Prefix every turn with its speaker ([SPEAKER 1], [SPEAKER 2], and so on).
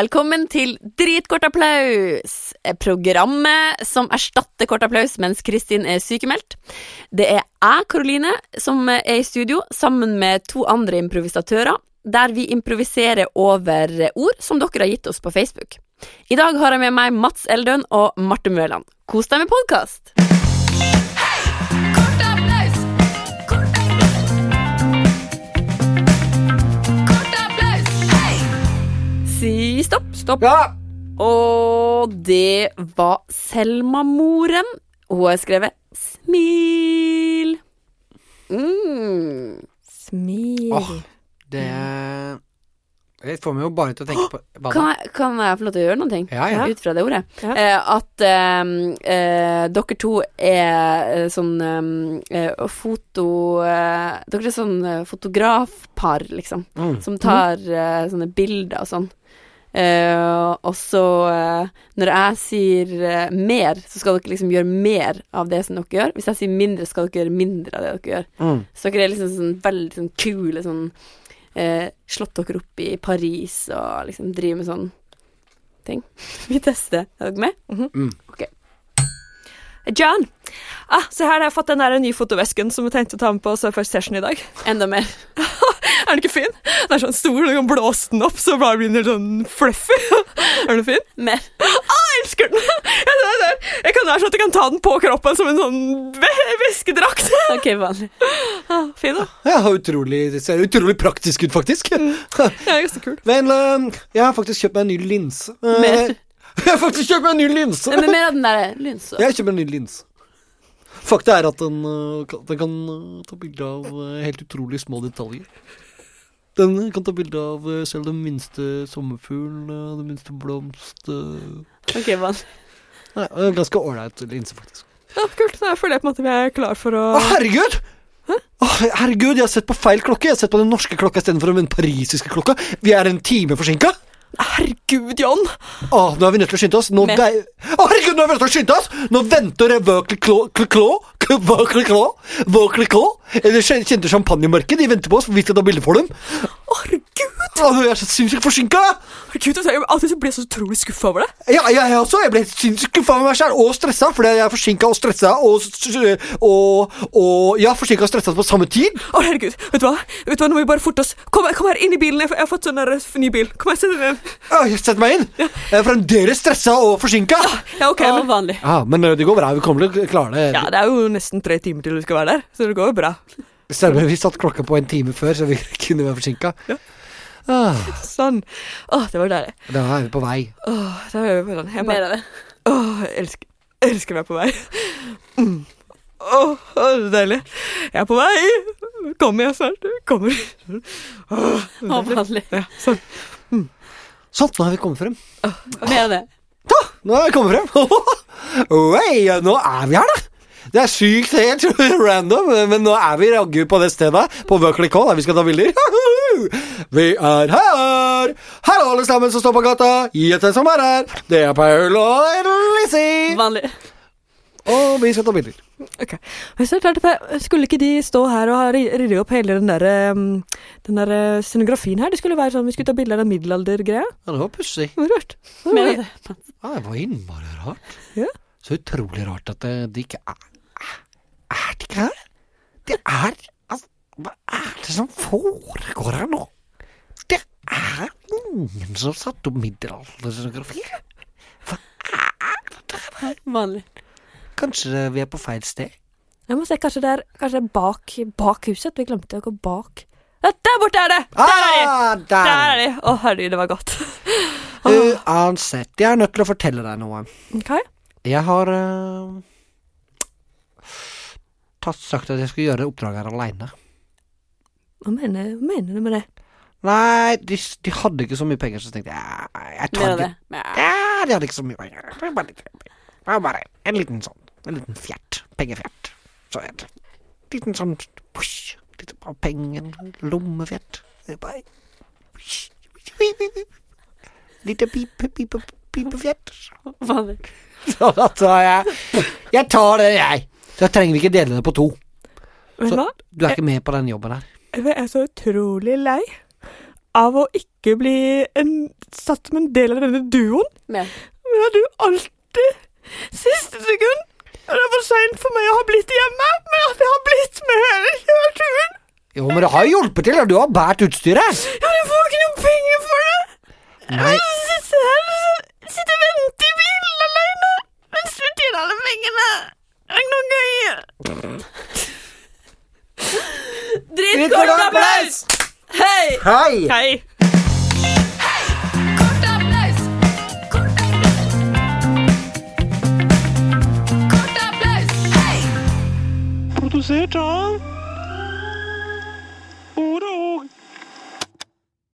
[SPEAKER 1] Velkommen til Dritkort applaus! eh, Programmet som erstatter kort applaus mens Kristin er sykemeldt. Det er jeg, Karoline, som eh, er i studio sammen med to andre improvisatører, der vi improviserer over eh, ord som dere har gitt oss på Facebook. I dag har jeg med meg Mats Eldøen og Marte Mørland. Kos deg med podkast! Si stopp. Stopp.
[SPEAKER 2] Ja!
[SPEAKER 1] Og det var Selma-moren. Hun har skrevet 'smil'. Mm.
[SPEAKER 3] Smil.
[SPEAKER 2] Åh, det Det får meg jo bare til å tenke på hva da?
[SPEAKER 1] Kan, jeg, kan jeg få lov til å gjøre noe?
[SPEAKER 2] Ja, ja.
[SPEAKER 1] Ut fra det ordet.
[SPEAKER 3] Ja.
[SPEAKER 1] Eh, at eh, eh, dere to er eh, sånn eh, foto... Eh, dere er sånn eh, fotografpar, liksom.
[SPEAKER 2] Mm.
[SPEAKER 1] Som tar
[SPEAKER 3] Mhm.
[SPEAKER 1] eh, sånne bilder og sånn. Eh, og så eh, Når jeg sier eh, mer, så skal dere liksom gjøre mer av det som dere gjør. Hvis jeg sier mindre, skal dere gjøre mindre av det dere gjør.
[SPEAKER 2] Mm.
[SPEAKER 1] Så dere er liksom sånn veldig sånn kule sånn eh, Slått dere opp i Paris og liksom driver med sånn ting. Vi tester. Er dere med?
[SPEAKER 3] John. Ah, se her, jeg har fått den der nye fotovesken som jeg tenkte å ta med på Surface Session i dag.
[SPEAKER 1] Enda mer.
[SPEAKER 3] Er den ikke fin? Den er sånn stor, du kan blåse den opp, så bare blir den helt sånn fluffy. Er den fin?
[SPEAKER 1] Mer.
[SPEAKER 3] Jeg elsker den! Jeg, jeg, jeg, jeg kan være sånn at jeg kan ta den på kroppen som en sånn ve- veskedrakt.
[SPEAKER 1] OK, vanlig.
[SPEAKER 3] Ah, fin, da.
[SPEAKER 2] Ja, utrolig, det ser utrolig praktisk ut, faktisk.
[SPEAKER 1] Mm.
[SPEAKER 3] Ja, ganske kul.
[SPEAKER 2] Men eh, jeg har faktisk kjøpt meg en ny linse. Eh,
[SPEAKER 1] Mer.
[SPEAKER 2] Jeg har faktisk kjøpt meg en ny linse!
[SPEAKER 1] Nei, men mer av den der lynsa.
[SPEAKER 2] Jeg har kjøpt meg en ny linse. Fakta er at den, eh, kan- den kan eh, ta bilde av eh, helt utrolig små detaljer. Den kan ta bilde av eh, selv den minste sommerfugl, eh, den minste blomst eh.
[SPEAKER 1] OK, vanlig.
[SPEAKER 2] Nei, eh, Ganske ålreit linse, faktisk.
[SPEAKER 3] Ja, kult. Da føler jeg på en måte vi er klar for å
[SPEAKER 2] Å, herregud! Å, herregud, jeg har sett på feil klokke. Jeg har sett på den norske klokka istedenfor den parisiske klokka. Vi er en time forsinka.
[SPEAKER 3] Herregud, John!
[SPEAKER 2] Å, nå er vi nødt til å skynde oss. Nå
[SPEAKER 1] Men-
[SPEAKER 2] vei... Å, herregud, nå er vi nødt til å skynde oss! Nå venter Vøkle-klå Vøkle-klå Vøkle-klå Det kjen- kjente champagnemarkedet. De venter på oss, for vi skal ta bilde for dem.
[SPEAKER 3] Herregud,
[SPEAKER 2] Å, jeg er så sinnssykt forsinka!
[SPEAKER 3] herregud jeg, alltid så blir jeg så utrolig skuffa over det.
[SPEAKER 2] Ja, jeg, jeg også. Jeg ble helt sinnssykt skuffa over meg sjæl og stressa, fordi jeg er forsinka og stressa og s- Og, og ja, forsinka og stressa på samme tid.
[SPEAKER 3] Å, herregud, vet du hva? Vet du hva, Nå må vi bare forte oss. Kom, kom her, inn i bilen. Jeg, får- jeg har fått sånn der f- ny bil. Kom her, sett deg ned.
[SPEAKER 2] Å, Ah, jeg setter meg inn. Jeg er fremdeles stressa og forsinka.
[SPEAKER 3] Ja, ok,
[SPEAKER 1] Og
[SPEAKER 3] men
[SPEAKER 1] vanlig.
[SPEAKER 2] Ja, men eh, det går bra. Vi kommer til å klare det.
[SPEAKER 3] Ah. Ja, det er jo nesten tre timer til du skal være der, så det går jo bra.
[SPEAKER 2] Stemmer, vi satt klokka på en time før, så vi kunne være forsinka.
[SPEAKER 3] Ja.
[SPEAKER 2] Ah,
[SPEAKER 3] Sånn. Åh, det var deilig.
[SPEAKER 2] da er vi på vei.
[SPEAKER 3] Åh, da er vi på sånn.
[SPEAKER 1] Mer
[SPEAKER 3] Jeg bare,
[SPEAKER 1] av det.
[SPEAKER 3] åh, jeg elsker, jeg elsker meg på vei. Mm. Åh, åh, det er deilig. Jeg er på vei. Kommer jeg snart? Kommer. Åh, det er
[SPEAKER 1] Og
[SPEAKER 3] deilig.
[SPEAKER 1] vanlig.
[SPEAKER 3] ja, sånn.
[SPEAKER 2] Sånn, nå er vi kommet frem.
[SPEAKER 1] Mer av det.
[SPEAKER 2] Nå er vi kommet frem. Oi, nå er vi her, da. Det er sykt helt random, men nå er vi jaggu på det stedet, på Buckley Call, der vi skal ta bilder. Vi er her! Her er alle sammen som står på gata. Gjett hvem som er her. Det er Paul og Lizzie.
[SPEAKER 1] Vanlig.
[SPEAKER 2] Og vi skal ta bilder.
[SPEAKER 3] Ok. Men så klarte jeg, skulle ikke de stå her og ha- rydde opp hele den der, um, den der uh, scenografien her? Det skulle være sånn, vi skulle ta bilder av den middelaldergreia.
[SPEAKER 2] Ja, det var pussig.
[SPEAKER 3] Det var Rart.
[SPEAKER 1] Mer av det.
[SPEAKER 2] Ja, det var innmari rart.
[SPEAKER 3] Ja.
[SPEAKER 2] Så utrolig rart at det, det ikke er Er det ikke her? Det er altså, Hva er det som foregår her nå? Det er ingen som satte opp middelalderscenografi.
[SPEAKER 1] Vanlig.
[SPEAKER 2] Kanskje vi er på feil sted?
[SPEAKER 3] Jeg må se, kanskje det er, kanskje det er bak, bak huset. Vi glemte å gå bak. Ja, Der borte er det! Der er de!
[SPEAKER 2] Ah,
[SPEAKER 3] Der er de! Å, herregud, det var godt.
[SPEAKER 2] Uansett, jeg er nødt til å fortelle deg noe.
[SPEAKER 3] Ok.
[SPEAKER 2] Jeg har eh, tatt sagt at jeg skal gjøre oppdraget her aleine.
[SPEAKER 3] Hva mener, hva mener du med det?
[SPEAKER 2] Nei, de, de hadde ikke så mye penger, så tenkte jeg jeg
[SPEAKER 1] Mer
[SPEAKER 2] tar
[SPEAKER 1] av
[SPEAKER 2] det.
[SPEAKER 1] det. Mer.
[SPEAKER 2] Ja, de hadde ikke så mye penger. Det var Bare, litt, det var bare en liten sånn En liten fjert. Pengefjert. Så en liten sånn push, Litt av pengen. Lommefjert. Det er bare- Lite pipe, pipe, pipefjert.
[SPEAKER 1] Vanlig.
[SPEAKER 2] Så da tar jeg Jeg tar det, jeg. Så jeg trenger ikke dele det på to.
[SPEAKER 3] Vet du
[SPEAKER 2] Så-
[SPEAKER 3] hva?
[SPEAKER 1] Eh.
[SPEAKER 2] Du er ikke med på den jobben her.
[SPEAKER 3] Jeg er så utrolig lei av å ikke ikke bli en, satt som en del av denne duoen.
[SPEAKER 1] Men
[SPEAKER 3] Men er du alltid siste sekund? Er Det er for seint for meg å ha blitt hjemme, men at jeg har blitt med hele kjøreturen.
[SPEAKER 2] Jo, men det har jo hjulpet til, og du har båret utstyret.
[SPEAKER 3] Ja, men jeg får ikke noe penger for det.
[SPEAKER 2] Nei,
[SPEAKER 3] Jeg sitter her og så sitter og venter i bilen alene mens du tjener alle pengene. Det er ikke noe gøy.
[SPEAKER 1] Drittkort applaus! Hei!
[SPEAKER 2] hei!
[SPEAKER 3] Hei.
[SPEAKER 4] Kort applaus! Kort applaus! Kort applaus! Hei!
[SPEAKER 5] produzir, John.